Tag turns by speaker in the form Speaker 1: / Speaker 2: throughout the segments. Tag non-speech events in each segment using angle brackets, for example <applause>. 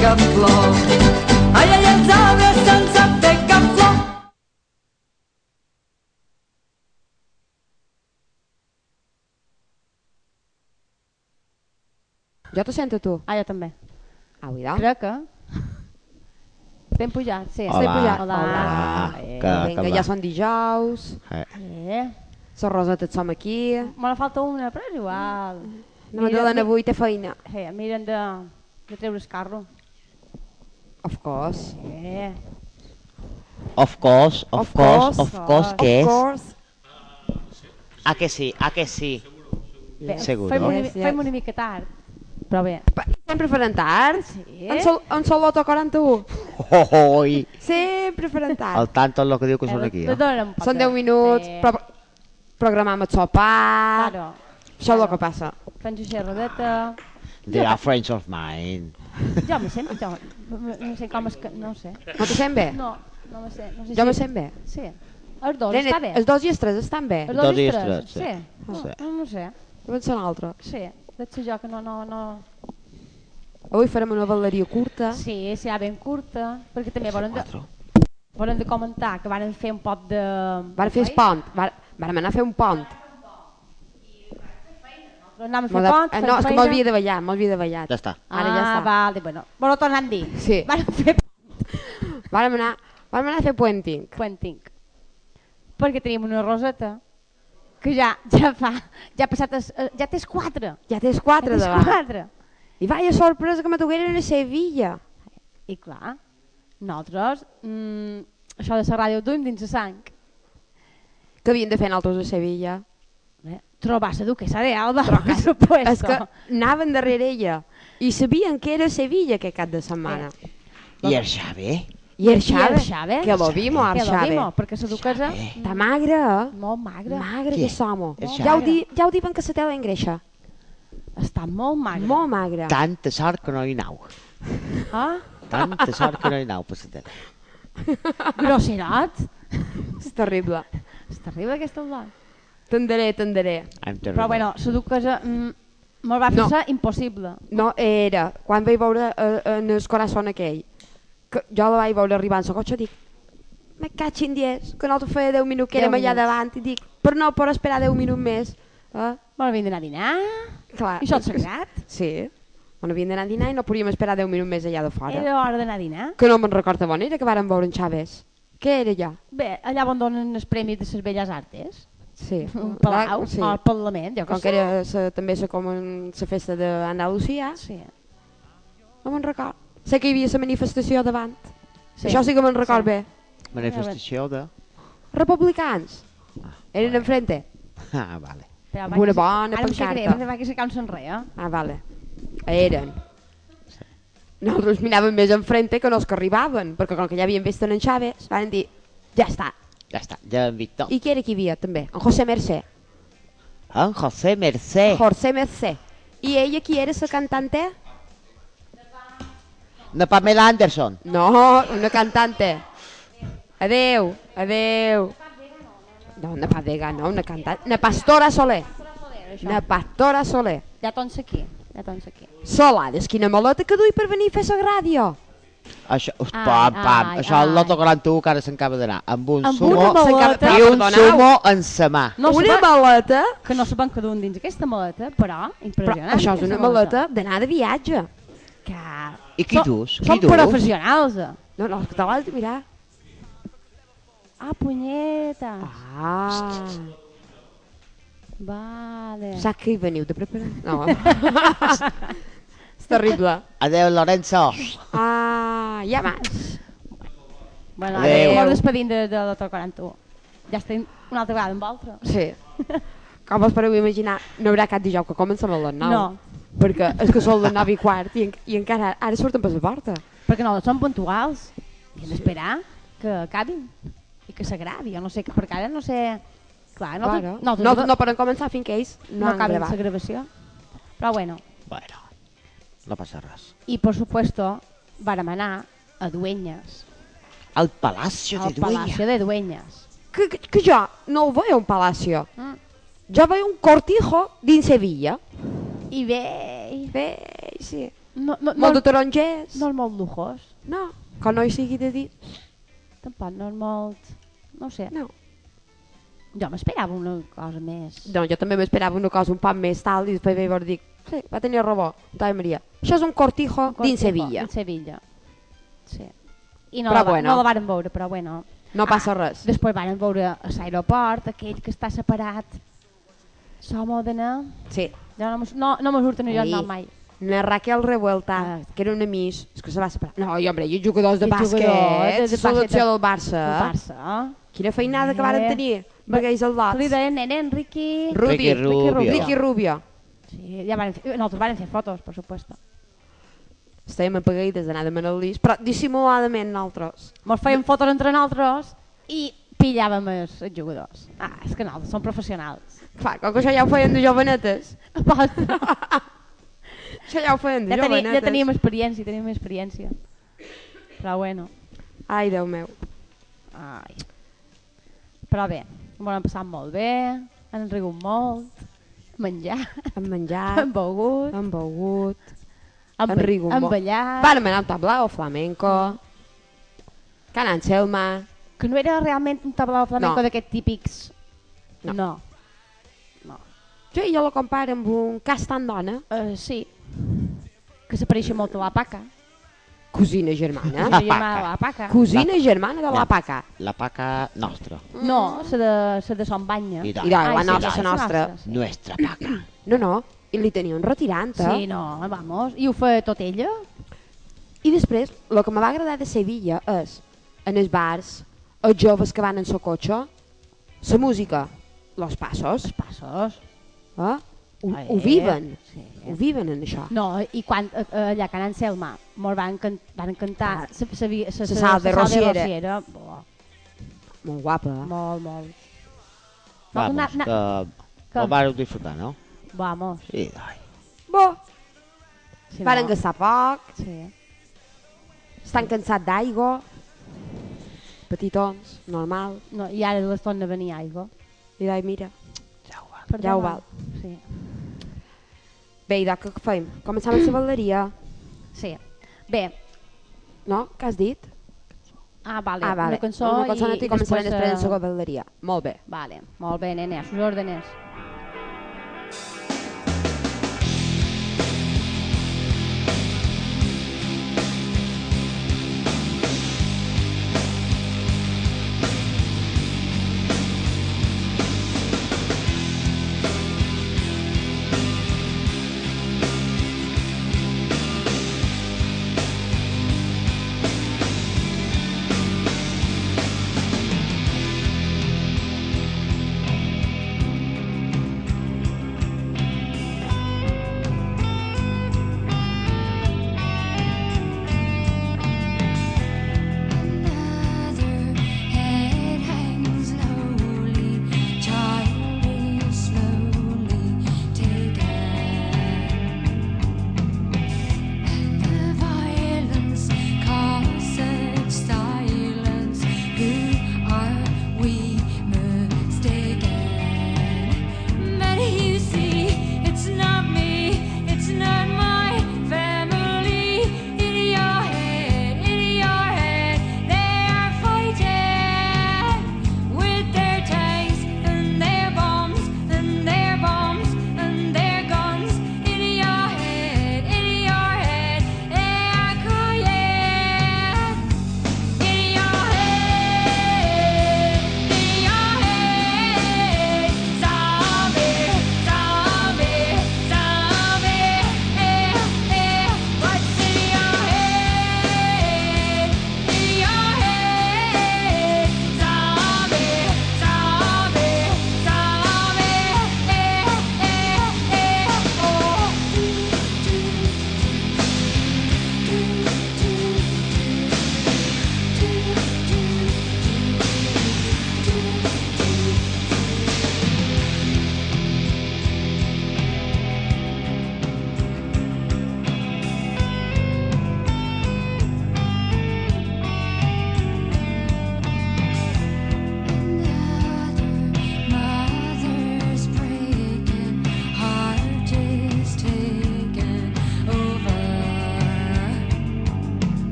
Speaker 1: cap flor. Ai, ai, els arbres sense fer cap flor.
Speaker 2: Jo te sento tu.
Speaker 3: Ah, jo també.
Speaker 2: Ah, cuidao.
Speaker 3: Crec que... Estem pujant, sí,
Speaker 2: Hola.
Speaker 3: estem pujant.
Speaker 2: Hola. Ah,
Speaker 3: Eh,
Speaker 2: Que, Vinga,
Speaker 4: que
Speaker 2: ja
Speaker 4: va.
Speaker 2: són dijous,
Speaker 4: Eh,
Speaker 3: Eh,
Speaker 2: les rosetes som aquí,
Speaker 3: me la falta una, però és igual.
Speaker 2: no me donen avui té feina.
Speaker 3: Eh, miren de, de treure's carro.
Speaker 2: Of course.
Speaker 3: Eh,
Speaker 4: Of course, of,
Speaker 2: Of
Speaker 4: course,
Speaker 2: course,
Speaker 4: of course,
Speaker 2: of
Speaker 4: què és?
Speaker 2: course.
Speaker 4: A que sí, a que sí.
Speaker 3: bé,
Speaker 4: Segur,
Speaker 3: fem,
Speaker 4: no?
Speaker 3: una,
Speaker 2: Yes, yes.
Speaker 3: fem una mica tard. Però bé,
Speaker 2: Pa- Sempre faran tard?
Speaker 3: Sí.
Speaker 2: En, sol, en Soloto 41?
Speaker 4: Oh, oh, oh, i
Speaker 2: Sempre faran tard.
Speaker 4: el tanto és el que diu que són aquí,
Speaker 3: no
Speaker 4: eh?
Speaker 3: donen
Speaker 2: Són 10 minuts, Ah.
Speaker 3: Eh,
Speaker 2: pro programam el sopar...
Speaker 3: Claro,
Speaker 2: Això és el
Speaker 3: claro.
Speaker 2: que passa.
Speaker 3: Fem així rodeta...
Speaker 4: They are friends of mine.
Speaker 3: Jo me sento, jo, no- no sé com es que... No ho sé.
Speaker 2: No te sent bé?
Speaker 3: No, no me sé. No sé
Speaker 2: Jo
Speaker 3: si-
Speaker 2: me sent bé.
Speaker 3: Sí. Els dos,
Speaker 2: Nene,
Speaker 3: està bé.
Speaker 2: els dos i els tres estan bé.
Speaker 3: Els
Speaker 2: Jo
Speaker 3: dos,
Speaker 4: dos
Speaker 3: i
Speaker 4: i
Speaker 3: els
Speaker 4: els
Speaker 3: tres,
Speaker 4: tres,
Speaker 3: sí.
Speaker 4: sí.
Speaker 3: No,
Speaker 4: Sí.
Speaker 3: no, no sé.
Speaker 2: Vaig ser un altre.
Speaker 3: Sí, dec ser jo que no, no, no...
Speaker 2: Avui farem una balleria curta.
Speaker 3: Sí, serà ben curta, perquè també volen de,
Speaker 4: Quatre.
Speaker 3: volen de comentar que van fer un pot de...
Speaker 2: Van fer el pont. Var, vam anar a fer un pont.
Speaker 3: Anàvem a fer
Speaker 2: M'ho de-
Speaker 3: pont,
Speaker 2: eh,
Speaker 3: fer
Speaker 2: no, és que
Speaker 3: feina.
Speaker 2: m'havia de ballar, m'havia de ballar.
Speaker 4: Ja està.
Speaker 2: Ara ja
Speaker 3: ah,
Speaker 2: està.
Speaker 3: Val, bueno, bueno, tornant a dir. <laughs>
Speaker 2: Sí.
Speaker 3: Van fer
Speaker 2: Vam anar, vam anar a fer puenting.
Speaker 3: puenting. Perquè tenim una roseta que ja ja fa, ja ha passat, es, eh, ja tens quatre.
Speaker 2: Ja tens quatre
Speaker 3: ja tens
Speaker 2: davant.
Speaker 3: quatre.
Speaker 2: I vaya sorpresa que me toqueren a Sevilla.
Speaker 3: I clar, nosaltres, mm, això de la ràdio ho duim dins la sang.
Speaker 2: Que havien de fer altres a Sevilla.
Speaker 3: Eh? Trobar la duquesa de Alba, <laughs> per supuesto.
Speaker 2: És que anaven darrere ella i sabien que era Sevilla aquest cap de setmana.
Speaker 4: I el Xavi?
Speaker 2: I
Speaker 3: Eh, I
Speaker 2: Arxave,
Speaker 3: Arxave.
Speaker 2: que lo vimos,
Speaker 3: Que lo
Speaker 2: Arxave.
Speaker 3: vimos, perquè la duquesa...
Speaker 4: Xave.
Speaker 2: Està magre, eh?
Speaker 3: Molt magre.
Speaker 2: Magre
Speaker 4: Qui?
Speaker 2: que som.
Speaker 4: Arxave.
Speaker 2: Ja ho, di, ja ho diuen que la tela engreixa.
Speaker 3: Està molt magre.
Speaker 2: Molt magre.
Speaker 4: Tanta sort que no hi nau.
Speaker 3: Eh?
Speaker 4: Tanta sort que no hi nau, passatel.
Speaker 3: Grosserot.
Speaker 2: És terrible.
Speaker 3: És terrible aquesta olor.
Speaker 2: Tendaré, tendaré.
Speaker 3: Però bueno, la duquesa mm, me'l va
Speaker 2: No.
Speaker 3: passar impossible.
Speaker 2: No, era, quan vaig veure eh, en el corazón aquell, que jo la vaig veure arribar en el cotxe, dic, me caig en 10, que nosaltres feia 10 minuts que
Speaker 3: Deu
Speaker 2: érem allà
Speaker 3: minuts.
Speaker 2: davant, i dic, però no, per esperar 10 minuts més. Eh?
Speaker 3: Me'l vindrà a dinar.
Speaker 2: Clar,
Speaker 3: I això et sagrat.
Speaker 2: Sí. On havien d'anar a dinar i no podíem esperar 10 minuts més allà de fora.
Speaker 3: Era hora d'anar a dinar.
Speaker 2: Que no me'n recorda bona era que vàrem veure en Chaves. Què era ja?
Speaker 3: Bé, allà on donen els premis de les belles artes.
Speaker 2: Sí.
Speaker 3: Un palau,
Speaker 2: Sí.
Speaker 3: sí. al Parlament, jo que
Speaker 2: Com que era sa, també se com en la festa d'Andalusia,
Speaker 3: Sí.
Speaker 2: no me'n record. Sé que hi havia la manifestació davant.
Speaker 3: Sí.
Speaker 2: Això sí que me'n record
Speaker 3: Sí.
Speaker 2: bé.
Speaker 4: Manifestació de...
Speaker 2: Republicans. Eren enfrente.
Speaker 4: Ah, vale.
Speaker 3: Però
Speaker 2: Amb
Speaker 3: vaig-
Speaker 2: una bona
Speaker 3: Ara no sé què,
Speaker 2: pancarta.
Speaker 3: va que s'acaba un somriure.
Speaker 2: Ah, vale. Eren. Nosaltres miràvem més enfrente que no els que arribaven, perquè com que ja havien vist en en Chaves, van dir, ja està.
Speaker 4: Ja està, ja hem vist tot.
Speaker 2: I qui era qui hi havia, també? En José Mercè.
Speaker 4: En José Mercè.
Speaker 2: José Mercè. I ella qui era, la cantante?
Speaker 4: De Pamela Anderson.
Speaker 2: No, una cantante. Adeu, adeu. No, una padega, no, una cantante. Una pastora Soler. Una pastora Soler.
Speaker 3: Ja tons aquí, ja tons aquí.
Speaker 2: Solades, quina maleta que dui per venir a fer la ràdio.
Speaker 4: Això, us,
Speaker 3: Ai,
Speaker 4: pam, pam.
Speaker 3: ai,
Speaker 4: Això és
Speaker 3: ai.
Speaker 4: l'Oto 41 que ara s'acaba d'anar. Amb un
Speaker 3: Amb
Speaker 4: sumo
Speaker 3: una eh? maleta.
Speaker 4: i un
Speaker 2: Perdoneu.
Speaker 4: sumo en sa mà.
Speaker 3: No
Speaker 2: una
Speaker 3: sabem-
Speaker 2: maleta?
Speaker 3: que no saben que duen dins aquesta maleta, però
Speaker 2: Però
Speaker 3: impressionant.
Speaker 2: això és
Speaker 3: aquesta
Speaker 2: una maleta d'anar de viatge.
Speaker 3: Que...
Speaker 4: I qui
Speaker 3: Són-
Speaker 4: dus? Qui
Speaker 3: Són
Speaker 4: dus?
Speaker 3: professionals. eh?
Speaker 2: No, no, que te l'has de mirar.
Speaker 3: Ah, punyeta.
Speaker 2: Ah,
Speaker 3: Vale.
Speaker 2: saps que hi veniu de preparar? No. <laughs> és terrible.
Speaker 4: Adéu, Lorenzo.
Speaker 2: Ah, ja més.
Speaker 3: Bueno,
Speaker 4: Adéu.
Speaker 3: adéu. Molt despedint de, de l'altre 41. Ja estem una altra vegada amb altre.
Speaker 2: Sí. Com us podeu imaginar, no hi haurà cap dijous que comencem a les 9.
Speaker 3: No.
Speaker 2: Perquè és que són les 9 i quart i, en, i encara ara surten per la porta.
Speaker 3: Perquè no, són puntuals. I hem d'esperar que acabin i que s'agravi. Jo no sé, perquè ara no sé... Clar, no,
Speaker 2: Claro.
Speaker 3: no,
Speaker 2: No, no, no poden començar fins que ells no,
Speaker 3: no
Speaker 2: han
Speaker 3: acabin
Speaker 2: gravat.
Speaker 3: la gravació. Però bueno,
Speaker 4: Bueno, no passa res.
Speaker 3: i per supuesto, vàrem anar a Dueñas,
Speaker 4: El Palacio de
Speaker 3: al
Speaker 4: Dueña.
Speaker 3: Palacio de Dueñas.
Speaker 2: Que, que, que jo no ho veia un palacio.
Speaker 3: Mm.
Speaker 2: Jo veia un cortijo dins Sevilla.
Speaker 3: I bé,
Speaker 2: Bé, sí.
Speaker 3: No, no, no,
Speaker 2: Molt de tarongers?
Speaker 3: Doncs- no és molt lujós,
Speaker 2: No. Que no hi sigui de dir.
Speaker 3: tampoc no és molt... No ho sé,
Speaker 2: No.
Speaker 3: jo m'esperava una cosa més.
Speaker 2: No, Doncs jo també m'esperava una cosa un poc més tal i després vaig dir, sí, va tenir raó, Dai Maria. Això és un cortijo,
Speaker 3: Un
Speaker 2: dins
Speaker 3: cortijo,
Speaker 2: Sevilla.
Speaker 3: Dins Sevilla, sí. I no,
Speaker 2: Però
Speaker 3: la, va-
Speaker 2: bueno.
Speaker 3: no la varen veure, però bueno.
Speaker 2: No passa
Speaker 3: Ah.
Speaker 2: res.
Speaker 3: Després varen veure a l'aeroport, aquell que està separat. Sòmodena.
Speaker 2: Sí.
Speaker 3: Jo no, mos- no, no me surten jo el
Speaker 2: Ai.
Speaker 3: nom mai.
Speaker 2: Na Raquel Revuelta,
Speaker 3: Ah.
Speaker 2: que era una miss, és que se va separar. No, i home, i els jugadors de
Speaker 3: I jugadors
Speaker 2: bàsquet,
Speaker 3: de- de
Speaker 2: selecció
Speaker 3: bàsquet
Speaker 2: del Barça.
Speaker 3: El Barça, eh?
Speaker 2: Quina feinada que varen
Speaker 3: Eh.
Speaker 2: tenir, perquè ells el
Speaker 3: Que Li
Speaker 2: lot.
Speaker 3: deien nen Enriqui.
Speaker 2: Rubio.
Speaker 4: Ricky
Speaker 2: Ricky
Speaker 4: Rubio.
Speaker 3: Rubio.
Speaker 2: Ricky Rubio.
Speaker 3: Sí, ja varen fer, nosaltres varen fer fotos, per supuesto.
Speaker 2: Estàvem apagueides d'anar de Manolís, però dissimuladament nosaltres.
Speaker 3: Mos feien fotos entre nosaltres i pillàvem els els jugadors. Ah, és que nosaltres som professionals.
Speaker 2: Clar, com que això ja ho feien de jovenetes.
Speaker 3: Aposta.
Speaker 2: Això ja ho feien de
Speaker 3: ja, teni,
Speaker 2: jovenetes.
Speaker 3: ja teníem experiència, teníem experiència. Però bueno,
Speaker 2: Ai, Déu meu.
Speaker 3: ai. Però bé, m'ho han passat molt bé, han rigut molt, menjar,
Speaker 2: Hem menjat,
Speaker 3: hem begut,
Speaker 2: hem begut,
Speaker 3: hem,
Speaker 2: hem Ah.
Speaker 3: ba-
Speaker 2: rigut
Speaker 3: hem
Speaker 2: molt.
Speaker 3: ballat,
Speaker 2: vàrem anar a un tablao flamenco, Can Anselma,
Speaker 3: que no era realment un tablao flamenco
Speaker 2: No.
Speaker 3: d'aquests típics.
Speaker 2: No.
Speaker 3: no.
Speaker 2: jo, jo la comparo amb un cas tan dona,
Speaker 3: Eh, sí, que s'apareixia molt a la paca.
Speaker 2: cosina
Speaker 3: Jo
Speaker 2: germana,
Speaker 3: <laughs>
Speaker 4: La
Speaker 3: li llamava La
Speaker 4: paca.
Speaker 3: paca.
Speaker 2: cosina germana de la paca.
Speaker 4: La paca nostra.
Speaker 3: No, la de, la de Son Banya.
Speaker 4: I tant.
Speaker 2: I dai,
Speaker 3: Ai,
Speaker 2: la
Speaker 3: sí,
Speaker 2: nostra,
Speaker 3: sí,
Speaker 2: la nostra.
Speaker 3: sí.
Speaker 4: Nuestra
Speaker 3: <clears throat>
Speaker 4: paca.
Speaker 2: No, no, i li tenia un retirant,
Speaker 3: Sí, no, vamos. I ho feia tot ella?
Speaker 2: I després, el que me va agradar de Sevilla és, en els bars, els joves que van en seu cotxe, la música, los passos,
Speaker 3: Els passos.
Speaker 2: eh? Ho,
Speaker 3: Ah,
Speaker 2: ho
Speaker 3: eh?
Speaker 2: viven,
Speaker 3: Sí.
Speaker 2: ho viven en això.
Speaker 3: No, i quan eh, eh, allà a Can Anselma mos van, can, van cantar se, se, se, se,
Speaker 2: Ah. Se sal de Rosiera.
Speaker 3: Bo,
Speaker 2: Molt guapa, eh?
Speaker 3: molt, molt.
Speaker 4: Vamos,
Speaker 3: na- na-
Speaker 4: que...
Speaker 3: Com?
Speaker 4: Ho vàreu disfrutar, no?
Speaker 3: Vamos.
Speaker 4: I dai.
Speaker 2: Bo,
Speaker 3: Si
Speaker 2: varen
Speaker 3: no,
Speaker 2: gastar poc,
Speaker 3: sí.
Speaker 2: estan cansats d'aigua, petitons, normal,
Speaker 3: No, I ara les torna a venir aigua.
Speaker 2: i dic, mira,
Speaker 4: Ja ho va.
Speaker 3: Perdó,
Speaker 2: Ja ho val.
Speaker 3: Sí.
Speaker 2: bé, i de què fem? Començam amb la balleria,
Speaker 3: sí. Bé,
Speaker 2: <clears throat> no? Què has dit?
Speaker 3: ah, vale.
Speaker 2: Ah, vale.
Speaker 3: una cançó,
Speaker 2: una cançó
Speaker 3: i, i
Speaker 2: començarem
Speaker 3: després,
Speaker 2: després
Speaker 3: eh,
Speaker 2: amb la balleria. Molt bé.
Speaker 3: Vale, molt bé, nena, sus órdenes.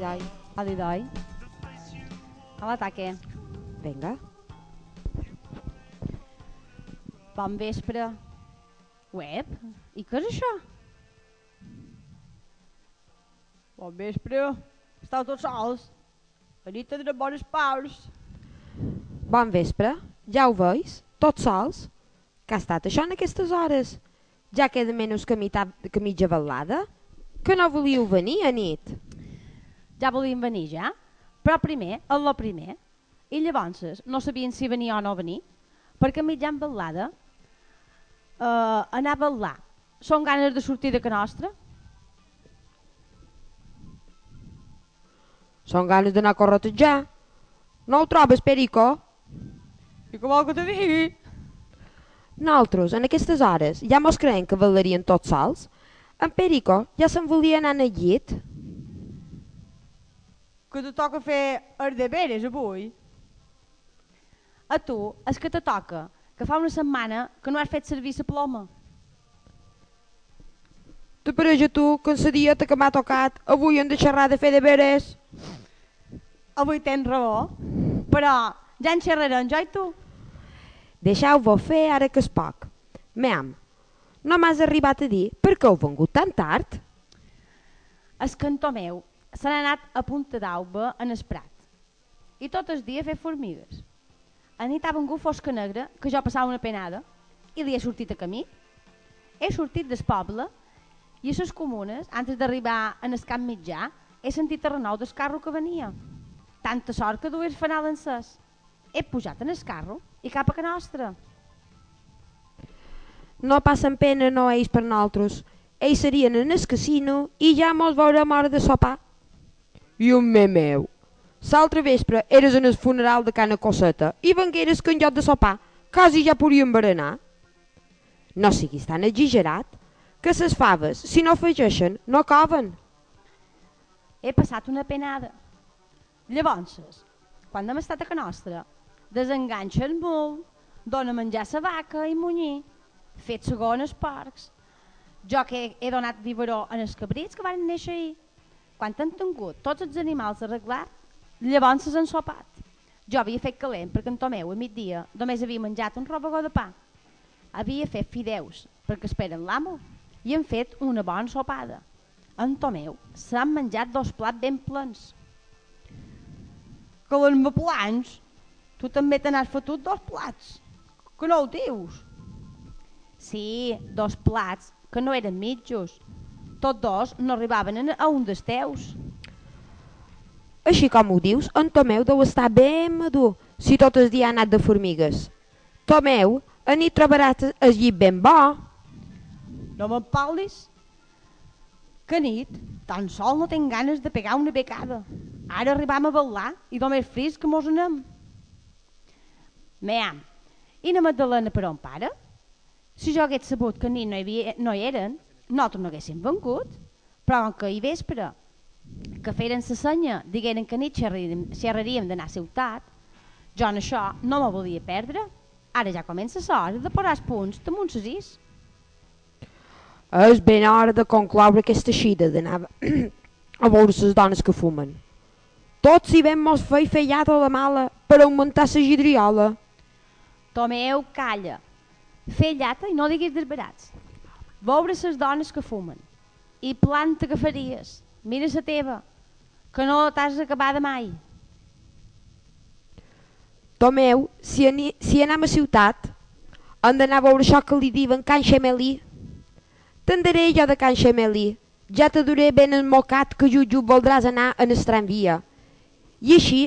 Speaker 2: dai.
Speaker 3: Adi doi. A l'ataque.
Speaker 2: Vinga.
Speaker 3: Bon vespre. Web? I què és això? Bon vespre. Estau tots sols? La nit tindrem bones paus.
Speaker 2: Bon vespre. Ja ho veus? Tots sols? Que ha estat això en aquestes hores? Ja queda menys que, mitad, que mitja velada? Que no volíeu venir a nit?
Speaker 3: Ja volien venir, ja. Però primer, el lo primer. I llavors no sabien si venia o no venir, perquè a mitjan ballada eh, anar a ballar són ganes de sortir de que nostra?
Speaker 2: Són ganes d'anar a córrer tot ja. No ho trobes, Perico?
Speaker 3: I què vol que te digui?
Speaker 2: Nosaltres, en aquestes hores, ja mos creiem que ballarien tots sols? En Perico ja se'n volia anar al llit?
Speaker 3: que te toca fer els deberes avui? A tu, és que te toca, que fa una setmana que no has fet servir la ploma.
Speaker 2: Te pareix a tu que en la dieta que m'ha tocat avui hem de xerrar de fer deberes?
Speaker 3: Avui tens raó, però ja en xerrarem jo i tu.
Speaker 2: Deixeu-vos fer ara que és poc. Meam, no m'has arribat a dir per què heu vengut tan tard?
Speaker 3: El cantó meu se n'ha anat a punta d'auba en el prat. I tot el dia a fer formigues. A nit ha vengut fosca negra, que jo passava una penada, i li he sortit a camí. He sortit del poble i a les comunes, antes d'arribar en el camp mitjà, he sentit el renou del carro que venia. Tanta sort que duies fanal encès. He pujat en el carro i cap a que nostra.
Speaker 2: No passen pena no ells per nosaltres. Ells serien en el casino i ja mos veurem a hora de sopar. I un me meu. L'altre vespre eres en el funeral de Cana Cosseta i vengueres que en lloc de sopar quasi ja podíem berenar. No siguis tan exagerat, que ses faves, si no afegeixen, no coven.
Speaker 3: he passat una penada. Llavors, quan hem estat a ca nostra, desenganxen molt, dona menjar sa vaca i munyir, fet segó en els porcs. Jo que he, he donat biberó en els cabrits que van néixer ahir. Quan han tingut tots els animals arreglats, llavors s'han sopat. Jo havia fet calent perquè en Tomeu a migdia només havia menjat un robegó de pa. Havia fet fideus perquè esperen l'amo i han fet una bona sopada. En Tomeu s'han menjat dos plats ben plens. Que les me plans? Tu també te n'has fotut dos plats. Que no ho dius? Sí, dos plats que no eren mitjos. Tots dos no arribaven en- a un dels teus.
Speaker 2: Així com ho dius, en Tomeu deu estar ben madur, si tot el dia ha anat de formigues. Tomeu, a nit trobaràs el llit ben bo.
Speaker 3: No me'n parlis? Que nit, tan sol no tinc ganes de pegar una becada. Ara arribam a ballar i només fris que mos anem. Meam, i na Magdalena per on para? Si jo hagués sabut que nit no hi, havia, no hi eren, nosaltres no haguéssim vengut. Però com que hi vespre, que feren sa senya, digueren que nit xerraríem, xerraríem d'anar a ciutat, jo en això no me volia perdre. Ara ja comença l'hora de posar els punts damunt ses is.
Speaker 2: És ben hora de concloure aquesta xida d'anar <clears throat> a veure les dones que fumen. Tots hi vam mos fer feiada la mala per augmentar la gidriola.
Speaker 3: Tomeu, calla. Fer llata i no diguis desbarats. Veure les dones que fumen. I planta que faries. Mira la teva, que no t'has acabada mai.
Speaker 2: Tomeu, si, ani, si anam a ciutat, hem d'anar a veure això que li diuen Can Xemelí. T'andaré jo de Can Xemelí. Ja te duré ben enmocat que jutjo voldràs anar en el tramvia. I així,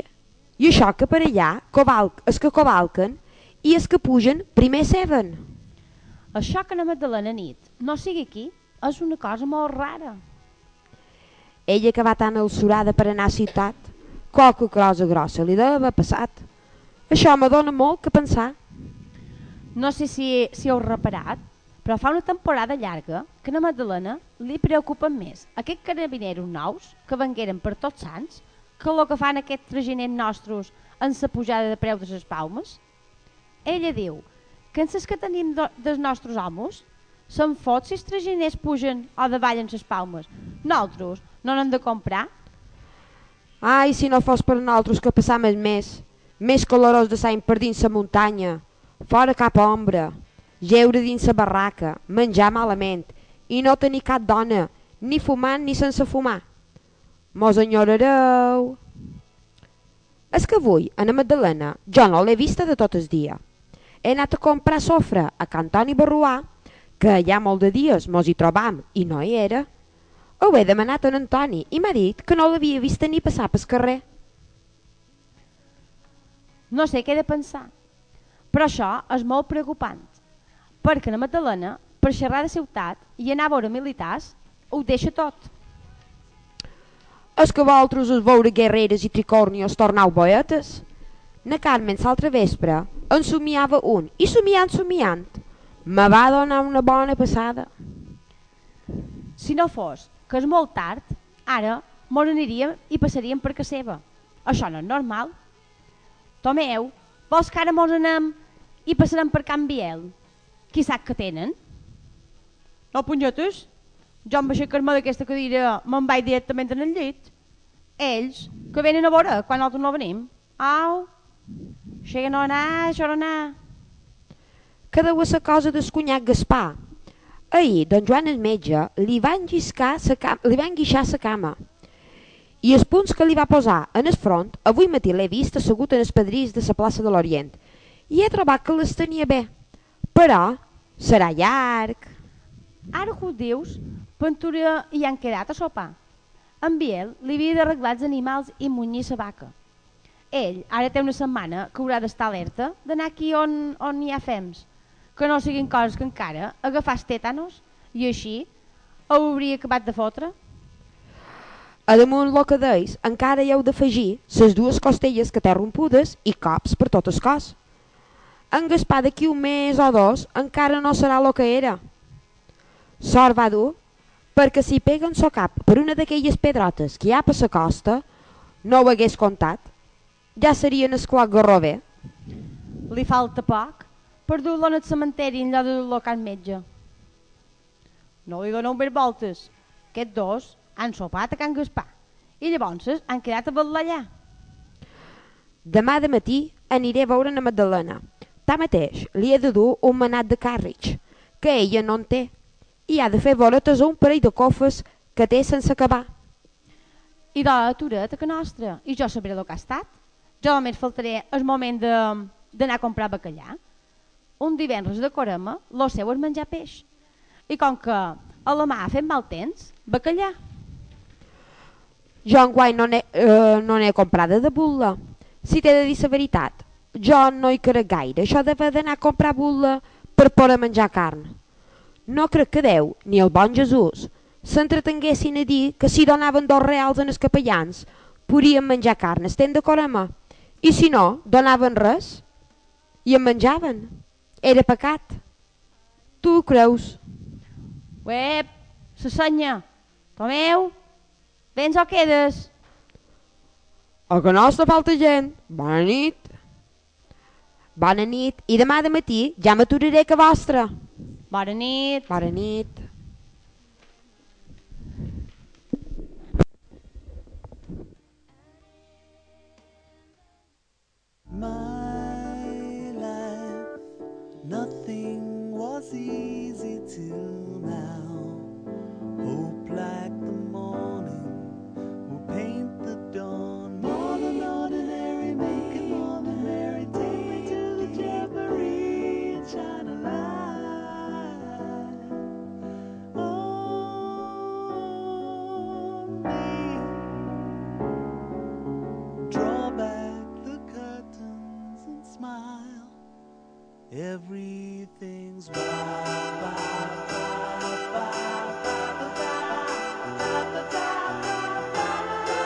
Speaker 2: i això que per allà, covalc, es que covalquen, i es que pugen, primer ceben.
Speaker 3: Això que la Magdalena nit no sigui aquí és una cosa molt rara.
Speaker 2: Ella que va tan alçorada per anar a ciutat, qualque cosa grossa li deu haver passat. Això me dona molt que pensar.
Speaker 3: No sé si, si heu reparat, però fa una temporada llarga que a la Magdalena li preocupen més aquests carabineros nous que vengueren per tots sants que el que fan aquests traginers nostres en la pujada de preu de les palmes. Ella diu que en les que tenim do, dels nostres homes se'n fot si els traginers pugen o davallen les palmes. Nosaltres no n'hem de comprar
Speaker 2: Ai, si no fos per naltros que passàvem més, més calorós de l'any per dins la muntanya, fora cap ombra, geure dins la barraca, menjar malament i no tenir cap dona, ni fumant ni sense fumar. Mos enyorareu. És que avui, a la Magdalena, jo no l'he vista de tot el dia. He anat a comprar sofre a Can Toni Barruà, que ja molt de dies mos hi trobam i no hi era. Ho he demanat a en Antoni i m'ha dit que no l'havia vista ni passar pel carrer.
Speaker 3: No sé què he de pensar. Però això és molt preocupant, perquè la Magdalena, per xerrar de ciutat i anar a veure militars, ho deixa tot.
Speaker 2: És que vosaltres us veure guerreres i tricornios tornau boetes? Na Carmen l'altre vespre en somiava un i somiant somiant me va donar una bona passada.
Speaker 3: Si no fos que és molt tard, ara mos aniríem i passaríem per casa seva. Això no és normal. Tomeu, vols que ara mos anem i passarem per Can Biel? Qui sap que tenen? No, punyetes. Jo em aixecar-me d'aquesta cadira me'n vaig directament en el llit. Ells, que venen a veure quan nosaltres no venim. Au, xega no anar, això no anar.
Speaker 2: que deu ser cosa del cunyac Gaspar. Ahir, don Joan el metge li va enguixar sa cama, li va enguixar sa cama i els punts que li va posar en el front, avui matí l'he vist assegut en els pedrís de la plaça de l'Orient i he trobat que les tenia bé, però serà llarg.
Speaker 3: Ara que ho dius, Ventura hi han quedat a sopar. En Biel li havia d'arreglar els animals i munyir sa vaca. Ell ara té una setmana que haurà d'estar alerta d'anar aquí on, on hi ha fems, que no siguin coses que encara agafar els tètanos i així ho hauria acabat de fotre.
Speaker 2: A damunt lo que deis, encara hi heu d'afegir les dues costelles que té rompudes i cops per tot el cos. En Gaspar d'aquí un mes o dos encara no serà lo que era. Sort va dur, perquè si peguen so cap per una d'aquelles pedrotes que hi ha per la costa, no ho hagués comptat, ja serien escloc garrover.
Speaker 3: Li falta poc per dur-lo al cementeri en lloc de dur-lo a can metge. No li doneu més voltes. Aquests dos han sopat a Can Gaspar i llavors han quedat a Batllallà.
Speaker 2: Demà de matí aniré a veure na Magdalena. Ta mateix li he de dur un manat de càrrich, que ella no en té, i ha de fer voretes un parell de cofes que té sense acabar.
Speaker 3: I de la Tureta que nostra. I jo sabré el que ha estat. Jo només faltaré el moment de- d'anar a comprar bacallà. Un divendres de corema, lo seu és menjar peix. I com que a la mà fem mal temps, bacallà.
Speaker 2: Jo enguany no n'he eh, no n'he comprada de bulla. Si t'he de dir la veritat, jo no hi crec gaire, això d'haver d'anar a comprar bulla per poder menjar carn. No crec que Déu, ni el bon Jesús, s'entretenguessin a dir que si donaven dos reals en els capellans, podien menjar carn, estem d'acord amb I si no, donaven res i en menjaven. Era pecat. Tu ho creus?
Speaker 3: Uep, se senya. Tomeu, vens o quedes?
Speaker 2: A que nostra falta gent. Bona nit. Bona nit. I demà de matí ja m'aturaré que vostra.
Speaker 3: Bona nit.
Speaker 2: Bona nit.
Speaker 5: My life, nothing was easy till now. Hope like the morning will paint the dawn. More than ordinary, make it more than ordinary. Take me to the jamboree and shine a light on Oh, me. Draw back the curtains and smile. Everything's wild. wild, wild, wild, wild, wild, wild, wild, wild.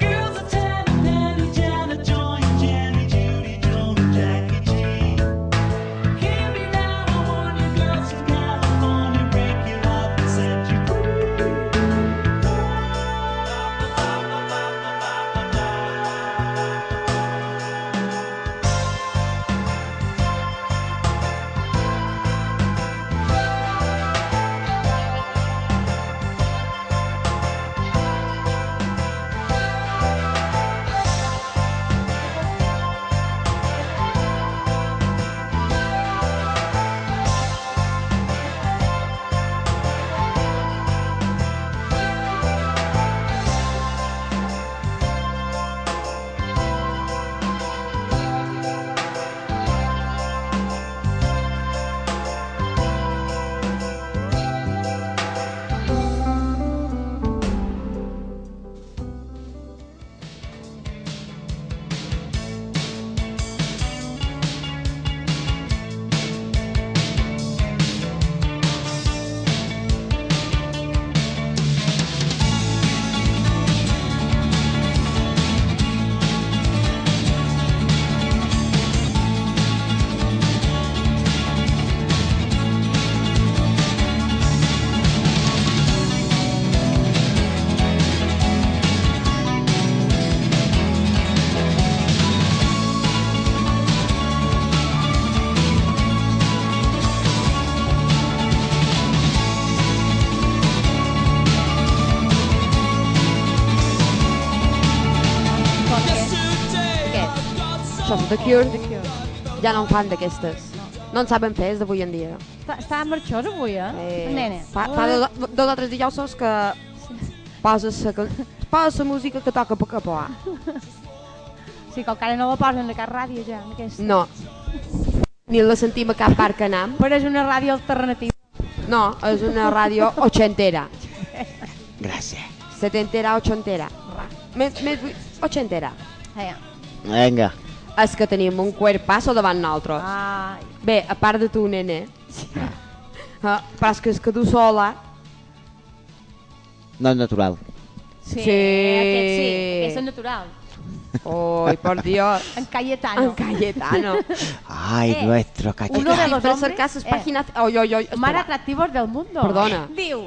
Speaker 5: Girls are Tana, Nanny, Jana, Joy, Jenny, Judy, Joan, and Jackie G. Hear me now, I warn you, girls from California, break you up and set you free.
Speaker 2: of The Cure ja no en fan d'aquestes. No en saben fer, és d'avui en dia.
Speaker 3: Està, està marxós avui, eh?
Speaker 2: Eh,
Speaker 3: Nene.
Speaker 2: Fa, fa dos, dos o tres dijous que poses la, can- poses la música que toca per capolà.
Speaker 3: Sí, que encara no la posen a cap ràdio ja, en aquesta.
Speaker 2: No. Ni la sentim a cap parc que anam.
Speaker 3: Però és una ràdio alternativa.
Speaker 2: No, és una ràdio ochentera.
Speaker 4: Gràcies.
Speaker 2: Setentera, ochentera. Més, més, vull- ochentera.
Speaker 3: Eh.
Speaker 4: Vinga.
Speaker 2: És que tenim un cuerpasso davant
Speaker 3: Ah.
Speaker 2: nosaltres.
Speaker 3: Ai.
Speaker 2: Bé, a part de tu, nene. Uh, però és que és que tu sola...
Speaker 4: No és natural.
Speaker 2: Sí.
Speaker 3: Sí, Aquest sí, aquest és natural.
Speaker 2: Oi, por Dios.
Speaker 3: En Cayetano.
Speaker 2: En
Speaker 3: <laughs>
Speaker 2: Cayetano.
Speaker 4: Ay,
Speaker 3: Eh,
Speaker 4: nuestro
Speaker 3: uno de
Speaker 4: cachita.
Speaker 3: los
Speaker 2: Siempre
Speaker 3: hombres,
Speaker 2: cercar sus
Speaker 3: eh.
Speaker 2: páginas... Oi, oi, oi,
Speaker 3: Mare
Speaker 2: espera.
Speaker 3: atractivos del mundo.
Speaker 2: Perdona.
Speaker 3: Diu.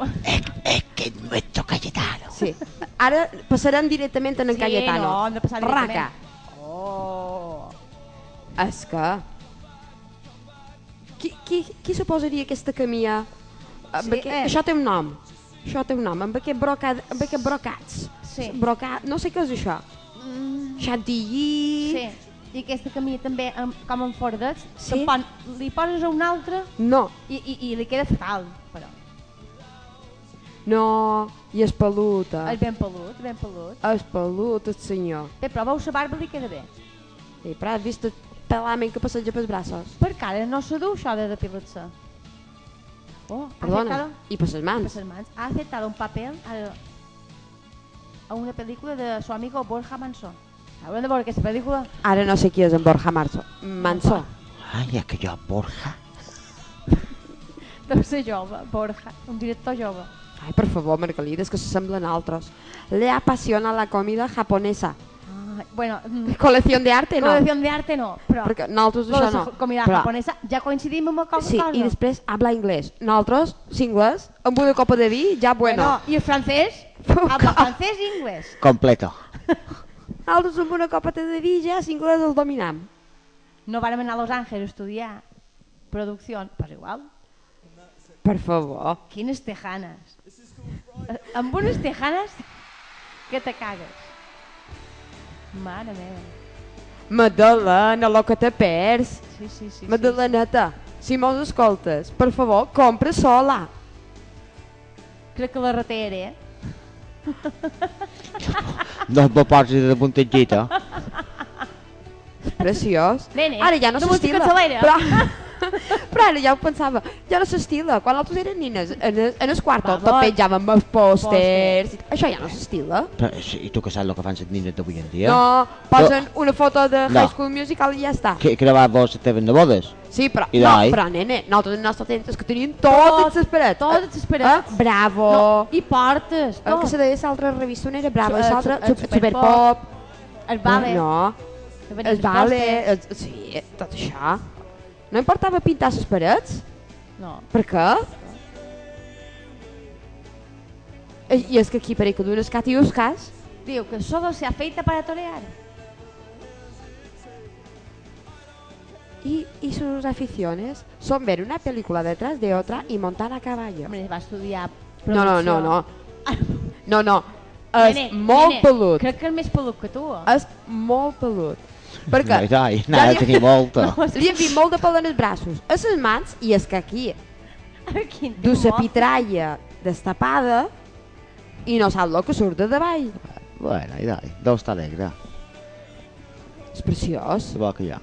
Speaker 4: Es que es nuestro cayetano.
Speaker 2: Sí. Ara passarem directament en en
Speaker 3: Sí,
Speaker 2: Cayetano.
Speaker 3: no, hem de passar directament.
Speaker 2: Raca.
Speaker 3: Oh.
Speaker 2: És que... Qui, qui, qui suposaria aquesta camia?
Speaker 3: Sí,
Speaker 2: Amb aquest...
Speaker 3: eh.
Speaker 2: Això té un nom. Això té un nom. Amb aquest, brocat, amb aquest brocats.
Speaker 3: Sí.
Speaker 2: Broca... No sé què és això. Chantilly...
Speaker 3: Sí. I aquesta camí també, em- com en Fordets,
Speaker 2: Sí.
Speaker 3: sí? li poses a un altre
Speaker 2: No,
Speaker 3: i, i, i li queda fatal, però.
Speaker 2: no, i és peluta.
Speaker 3: És ben pelut, ben pelut.
Speaker 2: És pelut, el senyor.
Speaker 3: Bé, però veu la barba li queda bé.
Speaker 2: I però has vist el pelament que passeja pels braços.
Speaker 3: Per cara no se du això de depilar-se. Oh, ha
Speaker 2: Perdona,
Speaker 3: afectat
Speaker 2: i per les
Speaker 3: per
Speaker 2: mans.
Speaker 3: ses mans. Ha aceptado un paper al- a una película de su amigo Borja Manson. Haurem de veure aquesta pel·lícula.
Speaker 2: Ara no sé qui és en Borja Marzo. Manso.
Speaker 4: Ay, aquello Borja.
Speaker 3: Deu ser jove, Borja, un director jove.
Speaker 2: Ai, per favor, Margalida, és que s'assemblen a altres. Le apasiona la comida japonesa.
Speaker 3: Ah, bueno, mm,
Speaker 2: Colecció de arte, no?
Speaker 3: colección de arte no, però...
Speaker 2: Perquè nosaltres
Speaker 3: Lo de
Speaker 2: això
Speaker 3: la
Speaker 2: no.
Speaker 3: comida japonesa, ja coincidim amb alguna
Speaker 2: Sí,
Speaker 3: cosa.
Speaker 2: i després habla anglès. Nosaltres, si anglès, amb una copa de vi, ja bueno.
Speaker 3: I el francès?
Speaker 2: Però
Speaker 3: El
Speaker 2: com?
Speaker 3: francès i anglès.
Speaker 4: Completo.
Speaker 2: Nosaltres amb una copeta de vi ja si anglès el dominam.
Speaker 3: No vàrem anar a Los Angeles a estudiar producció, però igual.
Speaker 2: Per favor.
Speaker 3: Quines tejanes. Eh, Amb unes tejanes que te cagues. Mare meva.
Speaker 2: Madalena, lo que te perds.
Speaker 3: Sí, sí, sí. sí.
Speaker 2: Madaleneta, si mos escoltes, per favor, compra sola.
Speaker 3: Crec que la retere, eh?
Speaker 4: Dos poposis de puntillito.
Speaker 3: <laughs>
Speaker 2: Preciós.
Speaker 3: Nene,
Speaker 2: ara ja no
Speaker 3: de música
Speaker 2: s'estila.
Speaker 3: acelera. <laughs>
Speaker 2: Però, però ara ja ho pensava, ja no s'estila. Quan altres eren nines, en, el- en el quart
Speaker 3: Va,
Speaker 2: tot
Speaker 3: va.
Speaker 2: penjàvem els pòsters. i- Això ja no s'estila.
Speaker 4: Però, sí, I tu que saps el que fan les nines d'avui en dia?
Speaker 2: No, posen una foto de
Speaker 4: No.
Speaker 2: High School Musical i ja està.
Speaker 4: Que, que gravar vos les teves nebodes?
Speaker 2: Sí, però,
Speaker 4: I
Speaker 2: no,
Speaker 4: dai.
Speaker 2: però nene, nosaltres en el nostre temps és que teníem totes les parets.
Speaker 3: totes les parets.
Speaker 2: Eh? Bravo.
Speaker 3: I portes,
Speaker 2: El
Speaker 3: tot.
Speaker 2: que se deia l'altra revista no era brava,
Speaker 3: Eh,
Speaker 2: l'altra
Speaker 3: su- eh,
Speaker 2: super, superpop.
Speaker 3: Superpop. El vale.
Speaker 2: No,
Speaker 3: Que venien
Speaker 2: el
Speaker 3: les
Speaker 2: vale, eh.
Speaker 3: postes.
Speaker 2: el, sí, tot això. No importava pintar les parets?
Speaker 3: No.
Speaker 2: Per què? I i és que aquí pareix que dones cat i us cas.
Speaker 3: Diu que solo se afeita para torear.
Speaker 2: Y, y sus aficiones son ver una película detrás de otra y montar a caballo.
Speaker 3: Hombre, va estudiar
Speaker 2: No, no, no, no. No, no. És
Speaker 3: Nene,
Speaker 2: molt Ah,
Speaker 3: nene,
Speaker 2: pelut.
Speaker 3: Crec que és més pelut que tu.
Speaker 2: És molt pelut. Perquè
Speaker 4: Ai, ai,
Speaker 2: Ja
Speaker 4: n'ha de
Speaker 2: li-
Speaker 4: tenir molta.
Speaker 2: <laughs> li hem vist molt de pel en els braços, a les mans, i és que aquí
Speaker 3: <laughs> Quin
Speaker 2: du
Speaker 3: timó.
Speaker 2: la pitralla destapada i no sap el que surt de davall.
Speaker 4: Bueno, i dai, deu estar alegre.
Speaker 2: És preciós.
Speaker 4: Se bo que ja.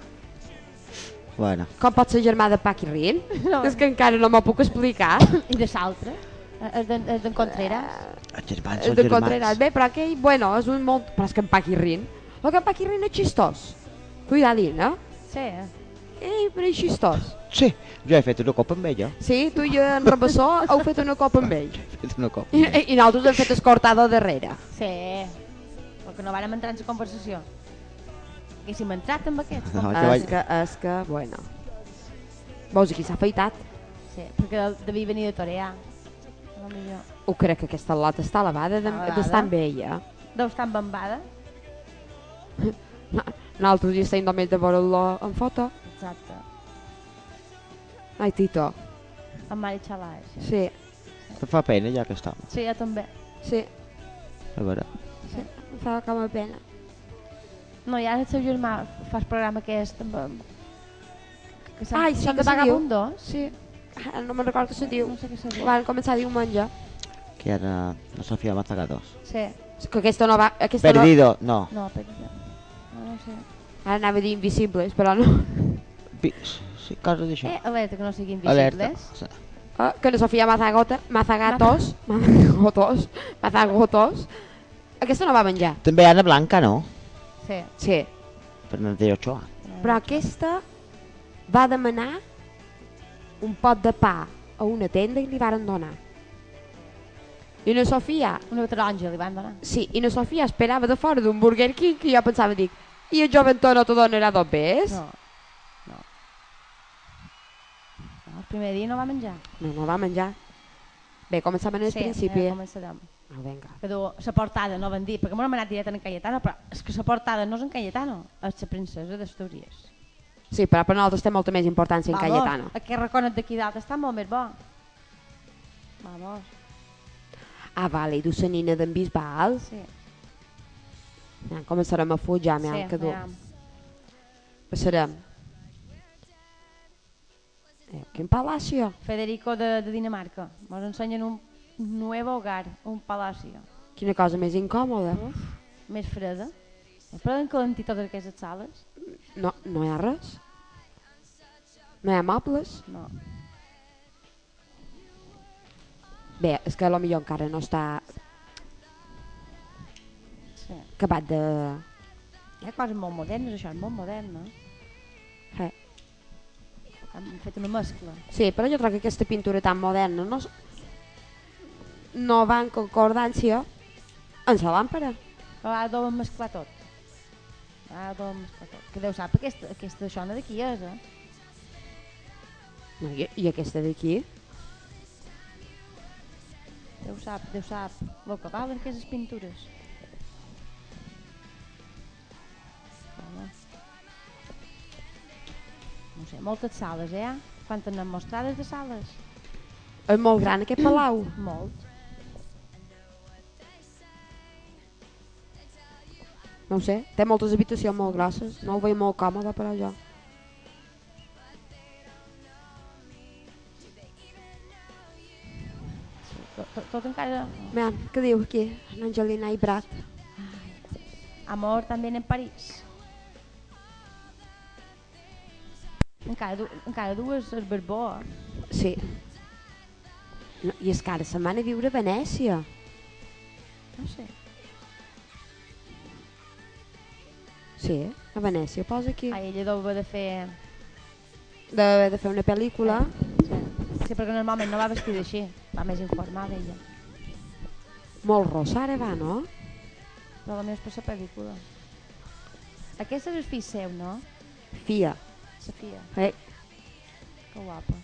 Speaker 4: Bueno,
Speaker 2: Com pot ser germà de Paqui Rin?
Speaker 3: No.
Speaker 2: <laughs> És que encara no m'ho puc explicar.
Speaker 3: I de l'altre? És eh, d'en és d'en
Speaker 2: Ah.
Speaker 3: Contreras?
Speaker 4: els germans
Speaker 2: És
Speaker 4: són
Speaker 2: de
Speaker 4: germans.
Speaker 2: Contreras. Bé, però aquell, bueno, és un molt... Però és que en Paqui Rin... El que en Paqui Rin és xistós. Cuidadín, eh?
Speaker 3: Sí.
Speaker 2: Ei, però és xistós.
Speaker 4: Sí, jo he fet una copa amb ella.
Speaker 2: Sí, tu i en Rabassó heu fet una copa amb ell.
Speaker 4: He fet una copa.
Speaker 2: <laughs> I, i nosaltres hem fet escortada darrere.
Speaker 3: Sí. Perquè no vàrem entrar en la conversació. Haguéssim entrat amb
Speaker 4: <laughs>
Speaker 3: aquests.
Speaker 4: No,
Speaker 3: com-
Speaker 4: que
Speaker 2: És Ah,
Speaker 4: vaig-
Speaker 2: que, és que, bueno... Veus, aquí s'ha afeitat.
Speaker 3: Sí, perquè devia venir de Toreà. A lo millor.
Speaker 2: Ho crec que aquesta lata està lavada de-
Speaker 3: Lavada.
Speaker 2: d'estar amb ella.
Speaker 3: Deu estar embambada.
Speaker 2: No- Nosaltres ja estem només de veure-la en foto.
Speaker 3: Exacte.
Speaker 2: Ai, Tito.
Speaker 3: Amb Mari Xalaix.
Speaker 2: Sí,
Speaker 4: Em fa pena ja que està.
Speaker 3: Sí, jo també.
Speaker 2: sí.
Speaker 4: A veure.
Speaker 2: Em fa com a pena.
Speaker 3: No, i ara el seu germà fa el programa aquest amb... amb- Que s'ha-
Speaker 2: Ai, sí,
Speaker 3: s'ha
Speaker 2: que
Speaker 3: de
Speaker 2: se diu.
Speaker 3: vagabundos. Sí.
Speaker 2: Ah, no me'n recordo que se diu.
Speaker 3: No sé què se diu.
Speaker 2: Van començar diumenge.
Speaker 4: Que era la Sofia Mazaga 2.
Speaker 3: Sí.
Speaker 2: És Que aquesta no va... Aquesta no...
Speaker 4: Perdido, no.
Speaker 3: No, però... No, no sé.
Speaker 2: Ara anava a dir invisibles, però no. <laughs>
Speaker 4: Pi- Sí, cosa d'això.
Speaker 3: Eh, alerta que no siguin
Speaker 4: Alerta.
Speaker 3: visibles.
Speaker 4: Sí.
Speaker 2: Ah, que la Sofia Mazagota... Mazagatos... Mazagotos... Mazagotos... Aquesta no va menjar.
Speaker 4: També Anna Blanca, no?
Speaker 3: Sí.
Speaker 2: Sí.
Speaker 4: Fernández de Ochoa.
Speaker 2: Però aquesta va demanar un pot de pa a una tenda i li varen donar. I la Sofia,
Speaker 3: Una taronja li van donar.
Speaker 2: sí, i la Sofia esperava de fora d'un Burger King i jo pensava, dic, i el joventó no t'ho donarà dos bes?
Speaker 3: No. No. no. El primer dia no va menjar.
Speaker 2: No, no va menjar. Bé, començàvem en el
Speaker 3: sí,
Speaker 2: principi.
Speaker 3: eh,
Speaker 2: Eh,
Speaker 3: començarem.
Speaker 2: ah, vinga.
Speaker 3: Que du la portada, no van dir, perquè m'ho hem anat directe en Cayetano, però és que la portada no és en Cayetano, és la princesa d'Astúries.
Speaker 2: Sí, però per nosaltres té molta més importància en
Speaker 3: Vamos,
Speaker 2: Cayetano.
Speaker 3: Aquest raconet d'aquí dalt està molt més bo. Vamos,
Speaker 2: Ah, vale, i du sa nina d'en Bisbal.
Speaker 3: sí.
Speaker 2: Ja, començarem a fujar, ja,
Speaker 3: sí,
Speaker 2: que dur.
Speaker 3: aviam.
Speaker 2: Passarem. Eh, quin palacio.
Speaker 3: Federico de, de Dinamarca. Ens ensenyen un nuevo hogar, un palacio.
Speaker 2: Quina cosa més incòmoda.
Speaker 3: Uf, més freda. Es poden calentir totes aquestes sales?
Speaker 2: No, no hi ha res. No hi ha mobles.
Speaker 3: No.
Speaker 2: Bé, és que potser encara no està
Speaker 3: Sí.
Speaker 2: acabat de...
Speaker 3: Hi ha coses molt modernes, això és molt modern, no?
Speaker 2: Eh.
Speaker 3: Han fet una mescla.
Speaker 2: Sí, però jo trobo que aquesta pintura tan moderna no, s- no va en concordància amb la làmpara.
Speaker 3: Però ara deuen mesclar tot. Ara deuen mesclar tot. Que Déu sap, aquesta, aquesta xona d'aquí és, eh?
Speaker 2: No, I, i aquesta d'aquí?
Speaker 3: Déu sap, Déu sap. El que valen aquestes pintures. Bueno. No sé, moltes sales, eh? Quantes n'han mostrades de sales?
Speaker 2: És molt gran aquest palau.
Speaker 3: Molt.
Speaker 2: No ho sé, té moltes habitacions molt grosses. No ho veig molt còmode, però jo.
Speaker 3: Tot, tot, tot encara...
Speaker 2: Man, què diu aquí? En Angelina i Brad.
Speaker 3: Amor también en París. Encara, du encara dues el Barbó, eh?
Speaker 2: Sí. No, I és que ara se'n van a viure a Venècia.
Speaker 3: No sé.
Speaker 2: Sí, eh? a Venècia, posa aquí.
Speaker 3: Ah, ella deu haver de fer...
Speaker 2: de, de fer una pel·lícula.
Speaker 3: Sí. sí, perquè normalment no va vestida així. Va més informada, ella.
Speaker 2: Molt rosa ara va, no?
Speaker 3: Però la meva és per la pel·lícula. Aquesta és el fill seu, no?
Speaker 2: Fia.
Speaker 3: La fia.
Speaker 2: Eh,
Speaker 3: Que guapa.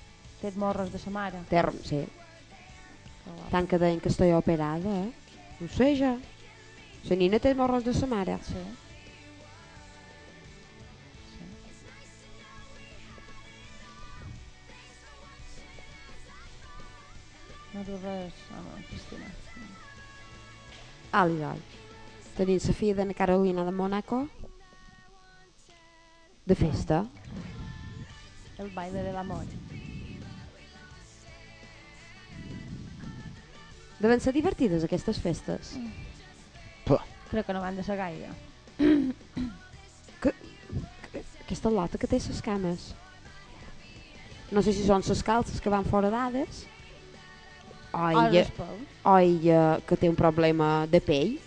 Speaker 3: Té morros de sa mare.
Speaker 2: term, sí.
Speaker 3: Que guapa.
Speaker 2: Tant que deien que estoy operada, eh? No sé ja. La nina té morros de sa mare.
Speaker 3: Sí. No diu res, home, Cristina.
Speaker 2: Ali, dai. Tenim la filla d'Anna Carolina de Mónaco. De festa.
Speaker 3: El baile de l'amor.
Speaker 2: Deuen ser divertides aquestes festes.
Speaker 3: Crec que no van de ser gaire.
Speaker 2: Aquesta lota que té ses cames. No sé si són ses calces que van fora dades. Oi,
Speaker 3: Ara
Speaker 2: ja-
Speaker 3: els peus.
Speaker 2: Oi, eh, que té un problema de pell.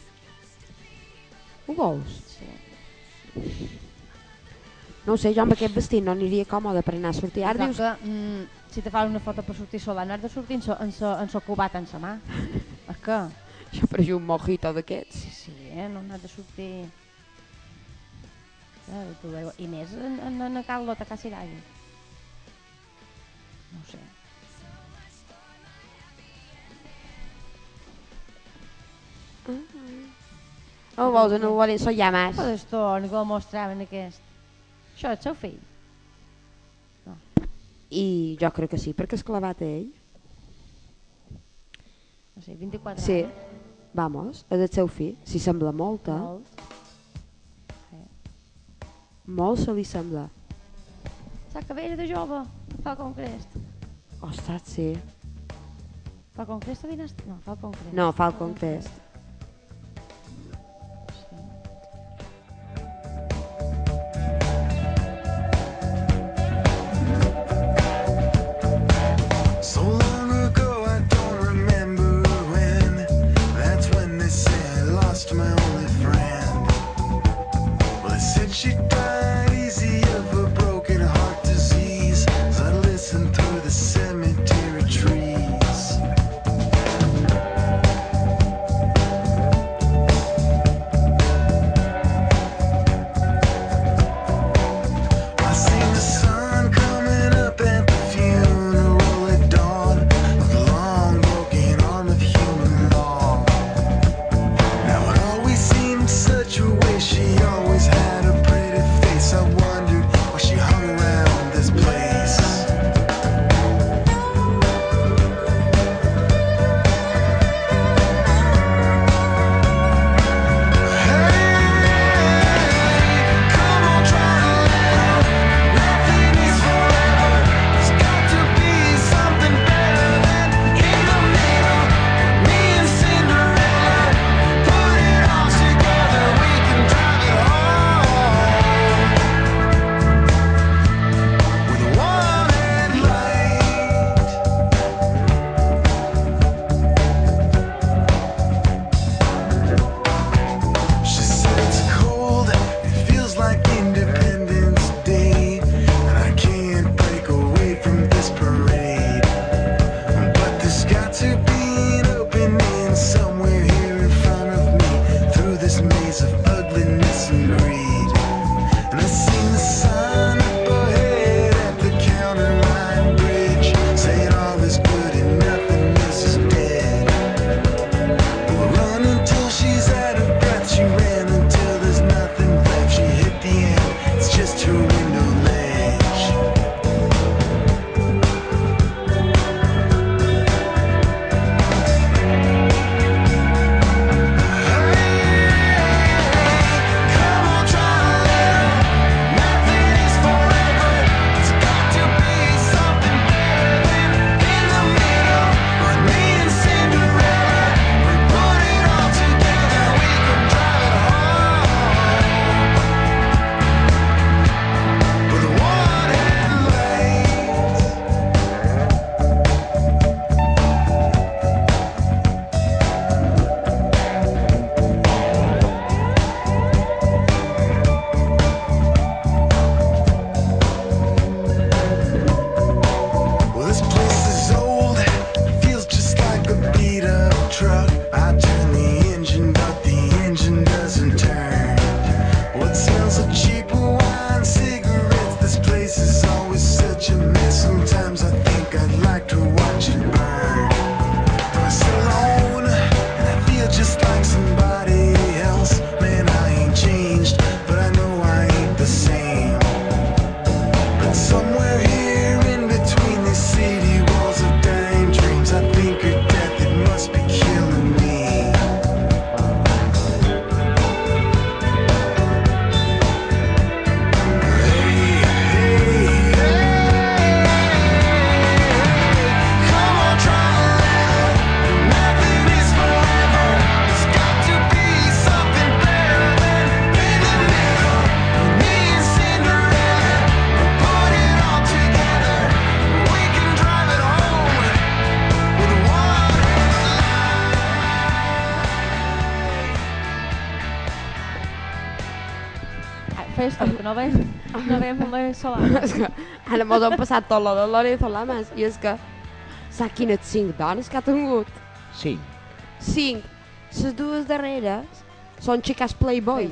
Speaker 2: Ho veus?
Speaker 3: Sí.
Speaker 2: No ho sé, jo amb aquest vestit no aniria còmode per anar a sortir. Ara
Speaker 3: Clar
Speaker 2: dius,
Speaker 3: que, mm, si te fan una foto per sortir sola, no has de sortir en so, en so, en so cubat en sa mà.
Speaker 2: <laughs>
Speaker 3: És que...
Speaker 2: jo faré un mojito d'aquests.
Speaker 3: Sí, sí, eh? No n'has de sortir... Ah, tu veu- I més en, en, en Carlota Casiraghi. No ho sé.
Speaker 2: Ho veus, no ho volen sollar més.
Speaker 3: Però d'estona que el mostraven aquest. Això és seu fill.
Speaker 2: I jo crec que sí, perquè és clavat a ell.
Speaker 3: No sé, 24
Speaker 2: Sí.
Speaker 3: anys.
Speaker 2: Vamos, és el seu fill. Si sembla molt, eh?
Speaker 3: Molt. Sí.
Speaker 2: Molt se li sembla.
Speaker 3: La cabella de jove, fa com crest.
Speaker 2: Ostres, sí.
Speaker 3: Fa com crest o dinastia? No, fa com crest.
Speaker 2: No, Falcon Crest.
Speaker 6: So long ago, I don't remember when. That's when they say I lost my only friend. Well, they said she died easy of a broken heart disease. As I listened through the cemetery trees. I seen the sun coming up at the funeral at dawn of the long broken arm of human law. Now it always seemed such a way she always had a pretty face. I wondered why she hung around this place. Hey, come on, try to laugh. Nothing is forever. There's got to be something better than in the middle. Me and Cinderella, put it all together. We can drive it home with one headlight. She said it's cold, it feels like Independence Day, and I can't break away from this parade. But there's got to be an opening somewhere here in front of me, through this maze of ugliness and greed. And I seen the sign up ahead at the counter line bridge, saying all is good and nothing else is dead. We'll run until she's out of breath. She ran until there's nothing left. She hit the end. It's just her window ledge. Hey, come on, try to live. Nothing is forever. It's got to be something better than in the middle. With me and Cinderella, we put it all together. We can drive it home with one headlight. Well, this place is old. Feels just like a beat up truck. I turn the engine, but the engine doesn't turn. What smells of cheap wine, cigarettes? This place is always such a mess. Sometimes I think I'd like to watch it burn. I sit alone, and I feel just like somebody else. Man, I ain't changed, but I know I ain't the same. But somewhere here in between these city walls of dying dreams, I think of death that must be killing me. Hey, hey, hey, come on, try to laugh. Nothing is forever. There's got to be something better than in the middle. Me and Cinderella, we'll put it all together. We can drive it home with one
Speaker 3: Ah, Fes tu, que no
Speaker 2: <laughs>
Speaker 3: veiem, no veiem, no veiem solar.
Speaker 2: <laughs> És que ara mos han passat tot la Dolores Solames i és que sap quines cinc dones que ha tingut?
Speaker 4: Sí.
Speaker 2: Cinc. Les dues darreres són xiques playboy.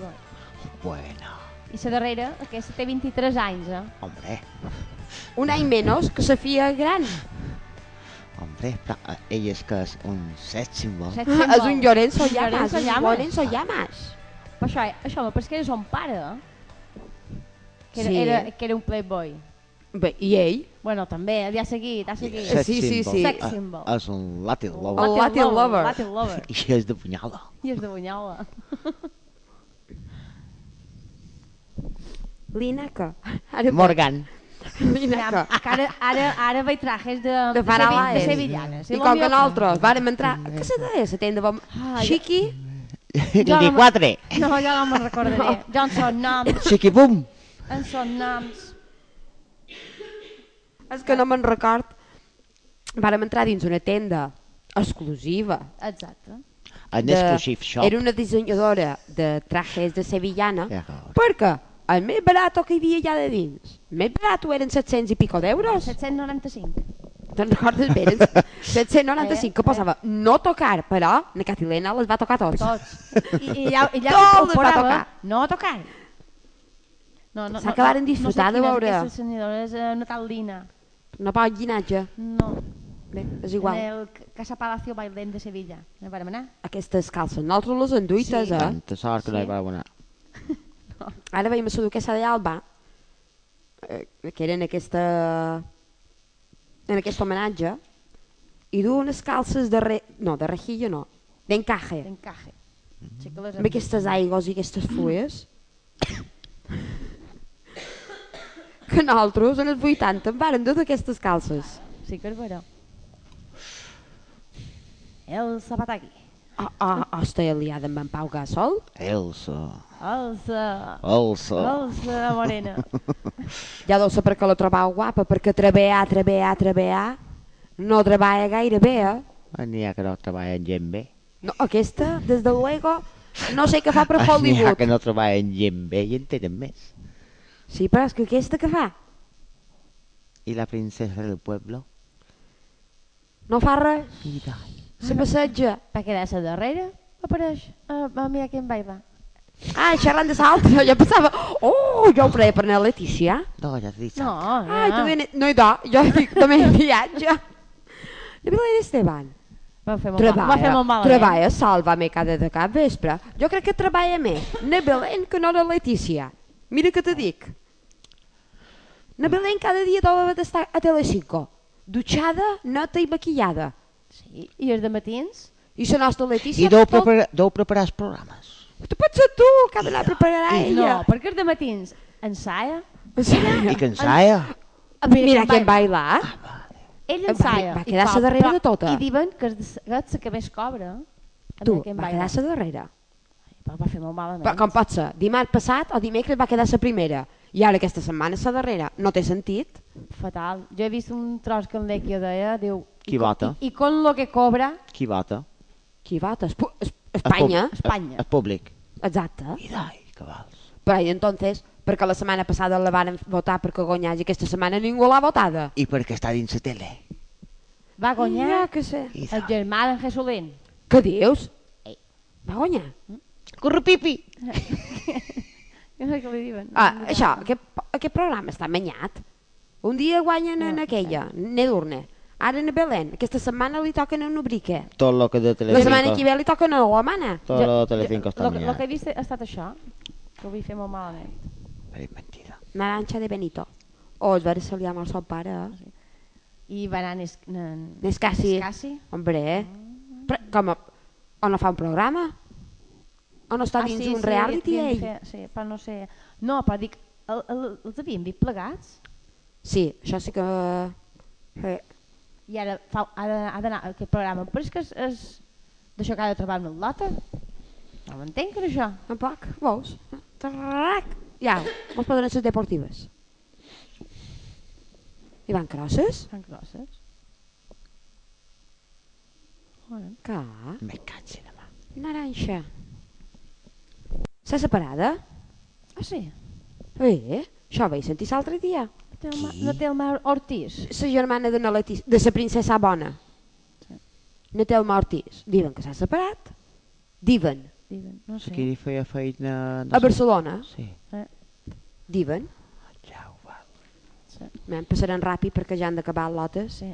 Speaker 4: Bueno,
Speaker 3: I la darrera, aquesta té 23 anys,
Speaker 2: <laughs>
Speaker 3: eh?
Speaker 4: hombre,
Speaker 2: Un any menys que la fia gran.
Speaker 4: hombre. pla- eh, Ell és que és un set símbol.
Speaker 3: Set cent
Speaker 2: és un
Speaker 3: vols.
Speaker 2: Llorenzo
Speaker 3: Ah, Un
Speaker 2: Llamas.
Speaker 3: Llorenzo
Speaker 2: Un
Speaker 3: Llamas.
Speaker 2: Llorenzo Llamas.
Speaker 3: Però això, això me pareix que era son pare, eh? que era,
Speaker 2: Sí.
Speaker 3: era, que era un playboy.
Speaker 2: Bé, i ell?
Speaker 3: Bueno, també, ja ha seguit, ha seguit.
Speaker 4: Set
Speaker 2: Sí, sí,
Speaker 4: símbol.
Speaker 2: sí.
Speaker 4: Eh,
Speaker 3: Sex symbol.
Speaker 4: És un Latin
Speaker 2: El
Speaker 4: lover.
Speaker 2: Oh. Latin lover.
Speaker 3: Latin lover.
Speaker 4: <laughs> I és de
Speaker 2: <laughs>
Speaker 4: punyada.
Speaker 3: I és de Bunyola.
Speaker 2: Linaca. <laughs> Ara
Speaker 4: <laughs>
Speaker 7: Morgan.
Speaker 2: Linaca.
Speaker 3: Ara, ara, ara vaig trajes de,
Speaker 2: De Faralaes.
Speaker 3: de sevillanes.
Speaker 2: I com que nosaltres vàrem entrar... Què se deia la tenda? Vam...
Speaker 3: Ai,
Speaker 2: Xiqui?
Speaker 7: 24.
Speaker 3: No, jo no me'n
Speaker 2: <laughs>
Speaker 3: recordaré. No. Jo en són noms,
Speaker 7: Xiquibum.
Speaker 3: en són noms.
Speaker 2: És que no me'n record. Vàrem entrar dins una tenda exclusiva.
Speaker 3: Exacte.
Speaker 4: En
Speaker 2: de-
Speaker 4: exclusive shop.
Speaker 2: Era una dissenyadora de trajes de sevillana.
Speaker 4: D'acord.
Speaker 2: Perquè el més barat que hi havia allà de dins, més barat eren 700 i pico d'euros.
Speaker 3: 795.
Speaker 2: Te'n recordes
Speaker 4: <laughs>
Speaker 2: bé? Eren 795, que posava no tocar, però na Catilena les va tocar tots.
Speaker 3: Tots.
Speaker 2: <laughs>
Speaker 3: I, i ja, i ja
Speaker 2: Tot
Speaker 3: ho
Speaker 2: es va
Speaker 3: posava,
Speaker 2: tocar.
Speaker 3: No tocar. No, no,
Speaker 2: S'ha acabat en disfrutar de
Speaker 3: no sé
Speaker 2: veure.
Speaker 3: Aquesta senyora és eh, una tal Lina.
Speaker 2: No pau llinatge,
Speaker 3: No.
Speaker 2: bé, és igual.
Speaker 3: En el C- Casa Palacio Bailén de Sevilla. No vàrem anar?
Speaker 2: Aquestes calces, nosaltres les enduites,
Speaker 3: Sí.
Speaker 2: eh?
Speaker 4: Tanta sort que no hi
Speaker 3: Sí.
Speaker 4: va abonar.
Speaker 2: Ara veiem a la duquesa d'Alba, eh, que era en aquesta... en aquest homenatge, i du unes calces de... Re... no, de rejillo no, d'encaje.
Speaker 3: D'encaje.
Speaker 2: Mm-hmm.
Speaker 3: Sí que les
Speaker 2: amb aquestes aigües i aquestes fulles que nosaltres en els 80 en varen dur d'aquestes calces.
Speaker 3: Sí que és vera. El Zapataki.
Speaker 2: Ah, ah, ah, estic aliada amb en Pau Gasol?
Speaker 4: Elsa.
Speaker 3: Elsa.
Speaker 4: Elsa.
Speaker 3: Elsa Morena.
Speaker 2: Ja deu saber que la trobau guapa, perquè treballar, treballar, treballar, no treballa gaire bé, eh?
Speaker 4: <laughs> N'hi ha que no treballen gent bé.
Speaker 2: No, aquesta, des de luego, no sé què fa per
Speaker 4: <laughs> N'hi ha
Speaker 2: Hollywood.
Speaker 4: que no treballen gent bé i en tenen més.
Speaker 2: Sí, però és que aquesta que fa?
Speaker 4: I la princesa del pueblo?
Speaker 2: No fa res,
Speaker 4: Mira.
Speaker 2: se passeja.
Speaker 3: Va quedar-se darrere. Apareix. Uh, mira quin baila.
Speaker 2: Ah, xerrant de l'altre, ja pensava, oh, jo ho preia per anar a Letícia.
Speaker 4: No, ja t'he dit.
Speaker 3: No, no.
Speaker 2: Ai, tu ben... No, i da,
Speaker 3: <laughs>
Speaker 2: jo dic també en viatge. La Vilena Esteban
Speaker 3: Va fer molt mal. Va fer
Speaker 2: treballa,
Speaker 3: molt malament.
Speaker 2: treballa, salva-me cada de cap vespre. Jo crec que treballa més na Belén que no la Letícia. Mira que te dic. Na Belén cada dia deu haver d'estar a Telecinco, dutxada, neta i maquillada.
Speaker 3: Sí. I els de matins?
Speaker 2: I la nostra Letícia...
Speaker 4: I deu,
Speaker 2: tot-
Speaker 4: prepara, deu preparar els programes.
Speaker 2: Tu pots ser tu, que ha d'anar a preparar ella.
Speaker 3: No, perquè els de matins ensaia.
Speaker 4: I que ensaia.
Speaker 2: <laughs> Mira qui em baila, eh?
Speaker 3: Ell
Speaker 2: Va-
Speaker 3: ensaia.
Speaker 2: va
Speaker 3: i
Speaker 2: quedar-se
Speaker 3: cobra,
Speaker 2: darrere
Speaker 3: però-
Speaker 2: de tota.
Speaker 3: I diuen que és de- que és la que més cobra. a
Speaker 2: Tu,
Speaker 3: Mira qui Ah, em
Speaker 2: va
Speaker 3: baila.
Speaker 2: quedar-se darrere.
Speaker 3: Però va fer molt malament.
Speaker 2: Però com pot ser? Dimarts passat o dimecres va quedar la primera i ara aquesta setmana la darrera. No té sentit?
Speaker 3: Fatal. Jo he vist un tros que en l'Equio deia, diu...
Speaker 4: Qui
Speaker 3: "I co-
Speaker 4: vota?
Speaker 3: I, i con lo que cobra,
Speaker 4: Qui vota?
Speaker 2: Qui vota? Espo- es- Espanya?
Speaker 4: El, pub-
Speaker 3: Espanya.
Speaker 4: el públic.
Speaker 2: Exacte.
Speaker 4: I dai, que vals.
Speaker 2: Però i entonces, perquè la setmana passada la van votar perquè guanyés i aquesta setmana ningú l'ha votada.
Speaker 4: I perquè està dins la tele.
Speaker 3: va guanyar
Speaker 2: Ja, que sé.
Speaker 4: I
Speaker 3: el
Speaker 4: dai.
Speaker 3: germà d'en Jesulín.
Speaker 2: Què dius? Va guanyar?
Speaker 7: Correpipi.
Speaker 3: Jo no sé què li diuen.
Speaker 2: Ah, això, aquest, aquest programa està manyat. Un dia guanyen en aquella, Nedurne. Ara en Belén. Aquesta setmana li toquen a Nubrique.
Speaker 4: Tot lo que de
Speaker 2: La setmana
Speaker 4: Telecinco.
Speaker 2: que ve li toquen a la mana.
Speaker 4: Tot lo de Telecinco està
Speaker 3: lo, que- lo que he
Speaker 4: mirat.
Speaker 3: vist ha estat això, que ho vull fer molt malament.
Speaker 4: Però és mentida.
Speaker 2: Naranja de Benito. Oh, es va ressaliar amb el seu pare, eh?
Speaker 3: I va anar Nes, nen,
Speaker 2: Nescasi.
Speaker 3: Nescasi.
Speaker 2: Hombre, eh? però com a... O no fa un programa? O no
Speaker 3: Ah,
Speaker 2: està dins un reality,
Speaker 3: havien
Speaker 2: ell?
Speaker 3: de fer- Sí, però no sé... No, però dic, el, el, els havien vist plegats?
Speaker 2: Sí, això sí que... eh, Sí.
Speaker 3: I ara fa, ha de- ha d'anar a aquest programa. Però és que és, és d'això que ha de trobar una lota. No m'entenc per això.
Speaker 2: Tampoc, veus? Tarrac! Ja, mos poden ser deportives. I van crosses?
Speaker 3: Fan crosses. Bueno,
Speaker 2: Que?
Speaker 4: Me caig en la mà.
Speaker 2: Naranja. S'ha separada?
Speaker 3: Ah, sí?
Speaker 2: Bé, això ho vaig sentir l'altre dia.
Speaker 3: No té el Mar, no té el Mar Ortiz.
Speaker 2: la germana de, na Leti- de la princesa Bona. Natelma Ortiz. Diuen que s'ha separat. Diuen.
Speaker 3: Diuen, no sé.
Speaker 4: Qui li feia feina... No
Speaker 2: A
Speaker 4: sé.
Speaker 2: Barcelona.
Speaker 4: Sí. <laughs>
Speaker 2: Diuen.
Speaker 4: Ja ho val.
Speaker 2: Em passaran ràpid perquè ja han d'acabar lotes.
Speaker 3: Sí.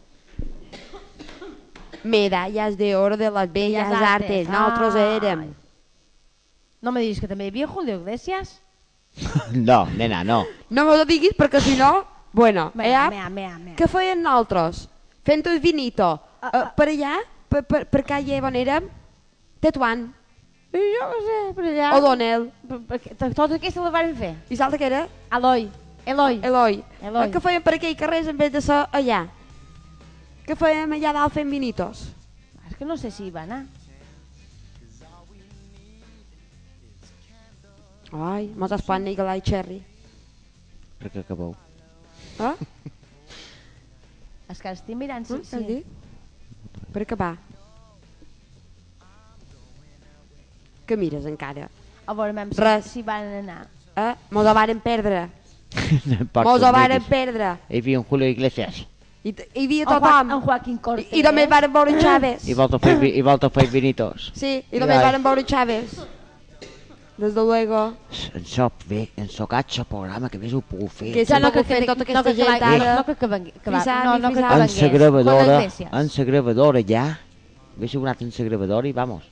Speaker 2: Medalles d'oro de les belles
Speaker 3: Belles
Speaker 2: artes.
Speaker 3: artes.
Speaker 2: Nosaltres
Speaker 3: Ai.
Speaker 2: érem.
Speaker 3: No me diguis que també hi havia Julio Iglesias.
Speaker 4: No, nena, no.
Speaker 2: No me ho diguis perquè si no... Bueno,
Speaker 3: Mea,
Speaker 2: allà,
Speaker 3: mea, mea, mea.
Speaker 2: què feien nosaltres? Fent el
Speaker 3: Ah,
Speaker 2: vinito. eh, per allà, per, per, per calle on érem, tetuant.
Speaker 3: Jo no sé, per allà...
Speaker 2: O'Donnell.
Speaker 3: Per- perquè to- Tota aquesta la van fer.
Speaker 2: I saps que era?
Speaker 3: Eloi. Eloi.
Speaker 2: Eloi.
Speaker 3: Eloi.
Speaker 2: El que feien per aquell carrer en vez de ser allà. Que feien allà dalt fent vinitos.
Speaker 3: És que no sé si hi va anar.
Speaker 2: Ai, mos espanya i galai cherry.
Speaker 4: Per què acabeu? <laughs>
Speaker 2: Eh?
Speaker 3: És que ara estic mirant, sí,
Speaker 2: Eh, què has
Speaker 3: sí.
Speaker 2: dit? Per acabar. Que mires encara.
Speaker 3: A veure, mem,
Speaker 2: Res.
Speaker 3: si, si van anar.
Speaker 2: Eh? Mos ho varen perdre.
Speaker 4: Paco
Speaker 2: Mos ho varen
Speaker 4: Iglesias.
Speaker 2: perdre.
Speaker 4: Hi havia un Julio Iglesias.
Speaker 2: I t- hi havia
Speaker 3: En, Joaquín,
Speaker 2: tothom.
Speaker 3: en Joaquín
Speaker 2: I,
Speaker 3: Cortés.
Speaker 2: i també varen veure Chaves.
Speaker 4: I volta fer, i volta fer vinitos.
Speaker 2: Sí, i
Speaker 4: I
Speaker 2: també
Speaker 4: vai.
Speaker 2: varen veure Chaves. Des de luego.
Speaker 4: En so, bé, en so gatxa programa que més ho puc fer.
Speaker 2: Que
Speaker 3: Ja no que, que,
Speaker 2: fent
Speaker 3: no
Speaker 2: tota
Speaker 3: que,
Speaker 2: aquesta
Speaker 3: que,
Speaker 2: gent
Speaker 3: va-
Speaker 2: ara.
Speaker 3: no que, que, vengui- que, va-
Speaker 2: Frisavi,
Speaker 3: no, no que, que,
Speaker 2: frisavi.
Speaker 4: en
Speaker 3: vengués.
Speaker 4: sa gravadora,
Speaker 3: Juan Iglesias.
Speaker 4: en sa gravadora ja. Hubiese una en sa gravadora i vamos.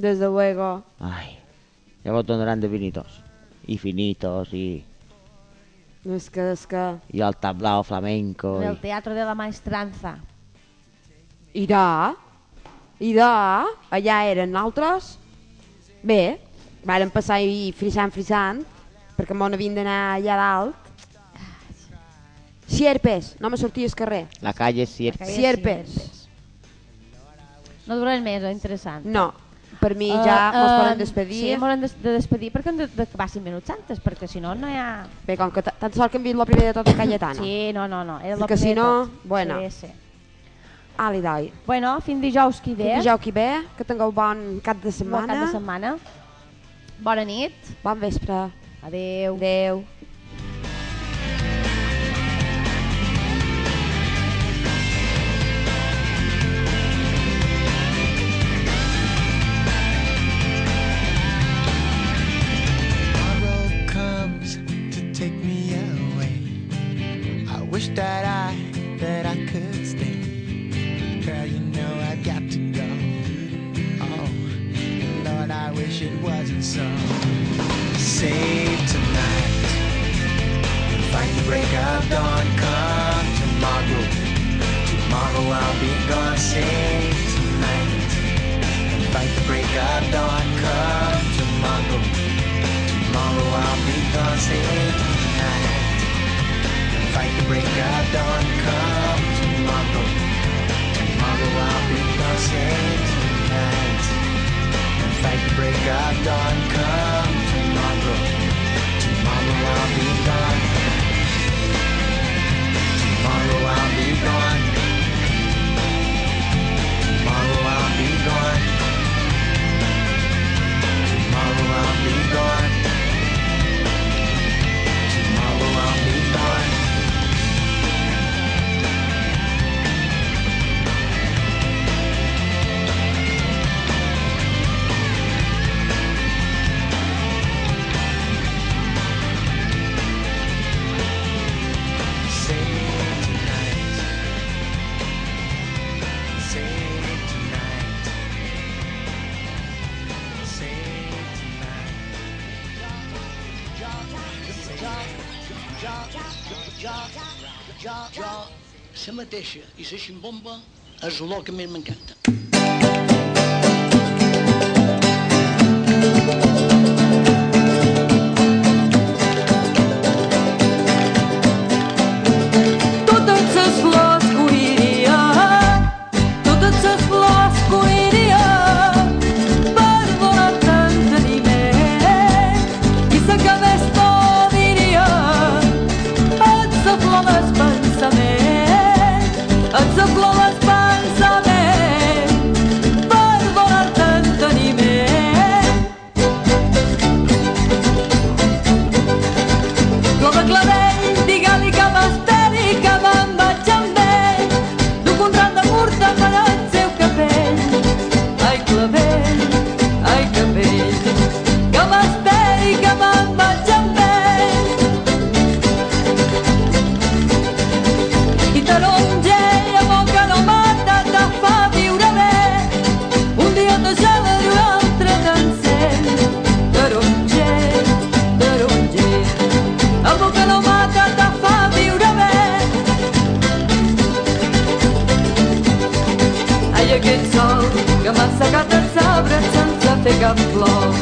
Speaker 2: Des de luego.
Speaker 4: Ai, ja vos donaran de vinitos. I finitos, i,
Speaker 2: No, És que, és que...
Speaker 4: i el tablao flamenco.
Speaker 3: Del
Speaker 4: I...
Speaker 3: Teatro de la Maestranza.
Speaker 2: I de... I de... Allà eren altres. Bé, varen passar i frisant, frisant, perquè m'on havien d'anar allà dalt. Sierpes, no me sortia al carrer.
Speaker 4: La calle Sierpe.
Speaker 3: que hi ha
Speaker 2: Sierpes.
Speaker 3: Sierpes. No duren més, eh? interessant.
Speaker 2: No, per mi
Speaker 3: Eh,
Speaker 2: ja mos
Speaker 3: eh,
Speaker 2: poden despedir.
Speaker 3: Sí, mos hem des- de despedir perquè hem de, de que passin minuts antes, perquè si no, no hi ha...
Speaker 2: Bé, com que ta- tanta sort que hem vist la primera de tot a Cayetana.
Speaker 3: Sí, Ah, no, no, no. Era la
Speaker 2: Perquè si
Speaker 3: primera
Speaker 2: no,
Speaker 3: de tot.
Speaker 2: bueno.
Speaker 3: Sí, sí.
Speaker 2: Ali, dai.
Speaker 3: Bueno, fins dijous que ve.
Speaker 2: Fins dijous que ve, que tingueu bon cap de
Speaker 3: Bon
Speaker 2: setmana.
Speaker 3: cap de setmana. Bona nit.
Speaker 2: Bon vespre.
Speaker 3: Adéu.
Speaker 2: Adeu.
Speaker 6: Tomorrow comes to take me away. I wish that I that I could stay. Girl, you know I got to go. Oh, Lord, I wish it wasn't so. Save tonight. Fight the break of dawn. Come tomorrow. Tomorrow I'll be gone. Save tonight. Fight the break of dawn. Come tomorrow. Tomorrow I'll be gone, say tonight. Fight the break of dawn, come tomorrow. Tomorrow I'll be gone, say tonight. Fight the break of dawn, come tomorrow. Tomorrow I'll be gone. Tomorrow I'll be gone. Tomorrow I'll be gone. Tomorrow I'll be gone. Tomorrow I'll be gone. Save tonight. Save tonight. Save tonight.
Speaker 8: ja, ja, la mateixa i la ximbomba és l'olor que més m'encanta.
Speaker 1: Totes les flors cuiria, totes les flors cuiria, per voler-te'n tenir més. I la que més por diria, ets la flor del pensament, ets la flor del pensament, per voler-te'n tenir més. Flor de clavell, digue-li que m'esperi que me'n vaig amb ell. Duc un ram de curta per al seu cabell. Ai, clavell, ai, cabell, que m'esperi que me'n vaig amb ell. I taronger, amor que no mata, te fa viure bé. Un dia te gela i un altre t'encén. Taronger, taronger, amor que no mata, te fa viure bé. Ai, aquest sol que m'ha secat els arbres sense té cap flor.